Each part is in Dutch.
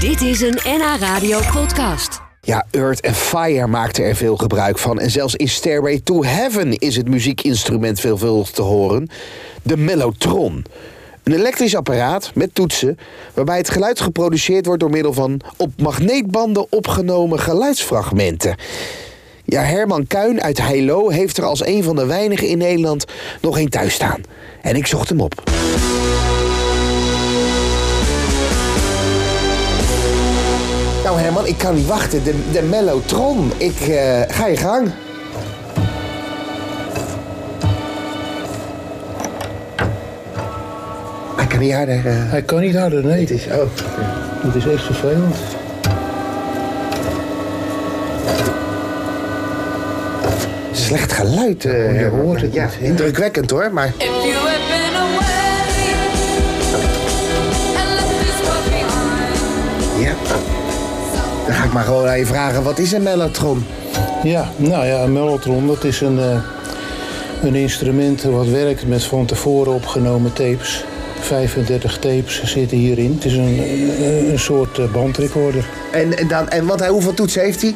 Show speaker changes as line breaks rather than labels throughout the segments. Dit is een NH Radio podcast.
Ja, Earth and Fire maakte er veel gebruik van. En zelfs in Stairway to Heaven is het muziekinstrument veelvuldig te horen. De mellotron. Een elektrisch apparaat met toetsen waarbij het geluid geproduceerd wordt door middel van op magneetbanden opgenomen geluidsfragmenten. Ja, Herman Kuin uit Heilo heeft er als een van de weinigen in Nederland nog een thuis staan. En ik zocht hem op. Nou Herman, ik kan niet wachten. De, de mellotron. Ik eh, ga je gang. Ik kan niet harder. eh.
Hij kan niet harder, nee.
is- oh.
Dat is echt vervelend.
Slecht geluid. eh,
je
Herman.
hoort het
Ja,
niet, hè?
indrukwekkend hoor. Maar
If you have been away and left this world behind,
ja. Dan ga ik maar gewoon aan je vragen. Wat is een mellotron?
Ja, nou ja, een mellotron, dat is een, eh, een instrument wat werkt met van tevoren opgenomen tapes. 35 tapes zitten hierin. Het is een, eh, een soort eh, bandrecorder.
En, en, dan, en wat, hoeveel toetsen heeft hij?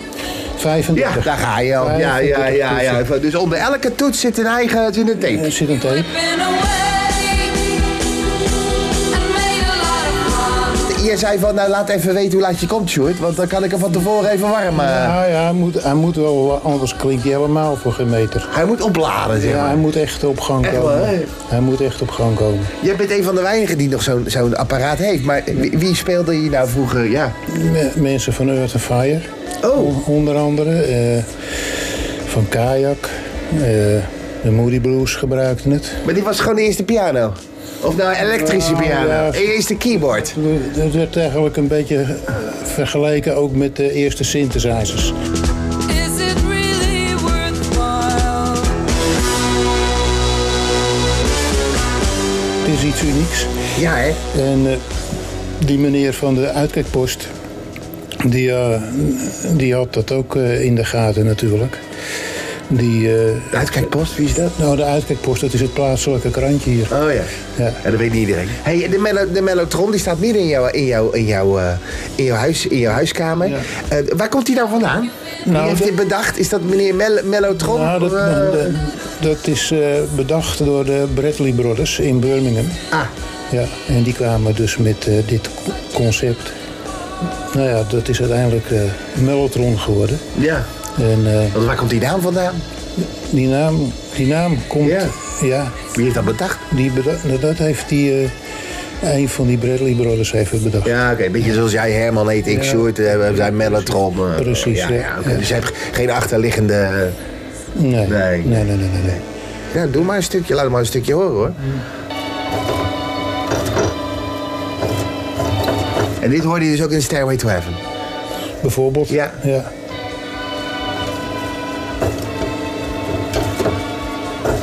35.
Ja, daar ga je al. Ja, ja, ja, ja. Dus onder elke toets zit een eigen zit een tape.
Er zit een tape.
been away and made a lot of fun.
Je zei van, nou laat even weten hoe laat je komt, Sjoerd. Want dan kan ik hem van tevoren even warm... eh.
Nou ja, hij moet, hij moet wel, anders klinkt hij helemaal voor geen meter.
Hij moet opladen, zeg
Ja,
maar.
hij moet echt op gang
Echt waar, hè?
komen. Hij moet echt op gang komen.
Jij bent een van de weinigen die nog zo'n zo'n apparaat heeft. Maar wie, wie speelde hier nou vroeger? Ja. Oh,
Me- mensen van Earth and Fire. On- Onder andere. eh, van Kajak. eh, de Moody Blues gebruikten het.
Maar dit was gewoon de eerste piano. Of nou, een elektrische
Nou,
piano.
ja.
Een eerste keyboard.
Het werd eigenlijk een beetje eh, vergeleken ook met de eerste synthesizers.
Is it really worthwhile?
Het is iets unieks.
Ja, hè?
En eh, die meneer van de uitkijkpost, die, eh, die had dat ook eh, in de gaten natuurlijk. Die, eh,
Uitkijkpost, wie is dat?
nou, de uitkijkpost, dat is het plaatselijke krantje hier.
Oh ja.
Ja.
Ja, dat weet niet iedereen. hey, de, melo- de Mellotron die staat midden in jouw, in jouw, in jouw, eh, in jouw, huis, in jouw huiskamer.
Ja.
Eh, waar komt die nou vandaan? Wie
Nou,
heeft
dat-
dit bedacht? Is dat meneer Mel Mellotron?
Nou, dat,
Of, eh,
dat- dat is eh, bedacht door de Bradley Brothers in Birmingham.
Ah,
Ja, en die kwamen dus met eh, dit concept. Nou ja, dat is uiteindelijk eh Mellotron geworden.
ja.
En eh,
Want waar komt die naam vandaan?
die, naam, die naam komt...
Ja.
ja
Wie heeft dat bedacht?
die beda- nou, dat heeft die... eh, een van die Bradley Brothers heeft het bedacht.
Ja, oké. Een beetje zoals jij Herman heet, ik
Ja.
Sjoerd, eh, we zijn Mellotron. eh,
Precies,
ja,
ja.
ja, oké.
Ja.
Dus je hebt geen achterliggende... eh,
Nee,
Nee.
nee, nee, nee, nee. nee.
Ja, doe maar een stukje. Laat maar een stukje horen, hoor. En dit hoorde je dus ook in Stairway to Heaven.
Bijvoorbeeld.
Ja.
ja.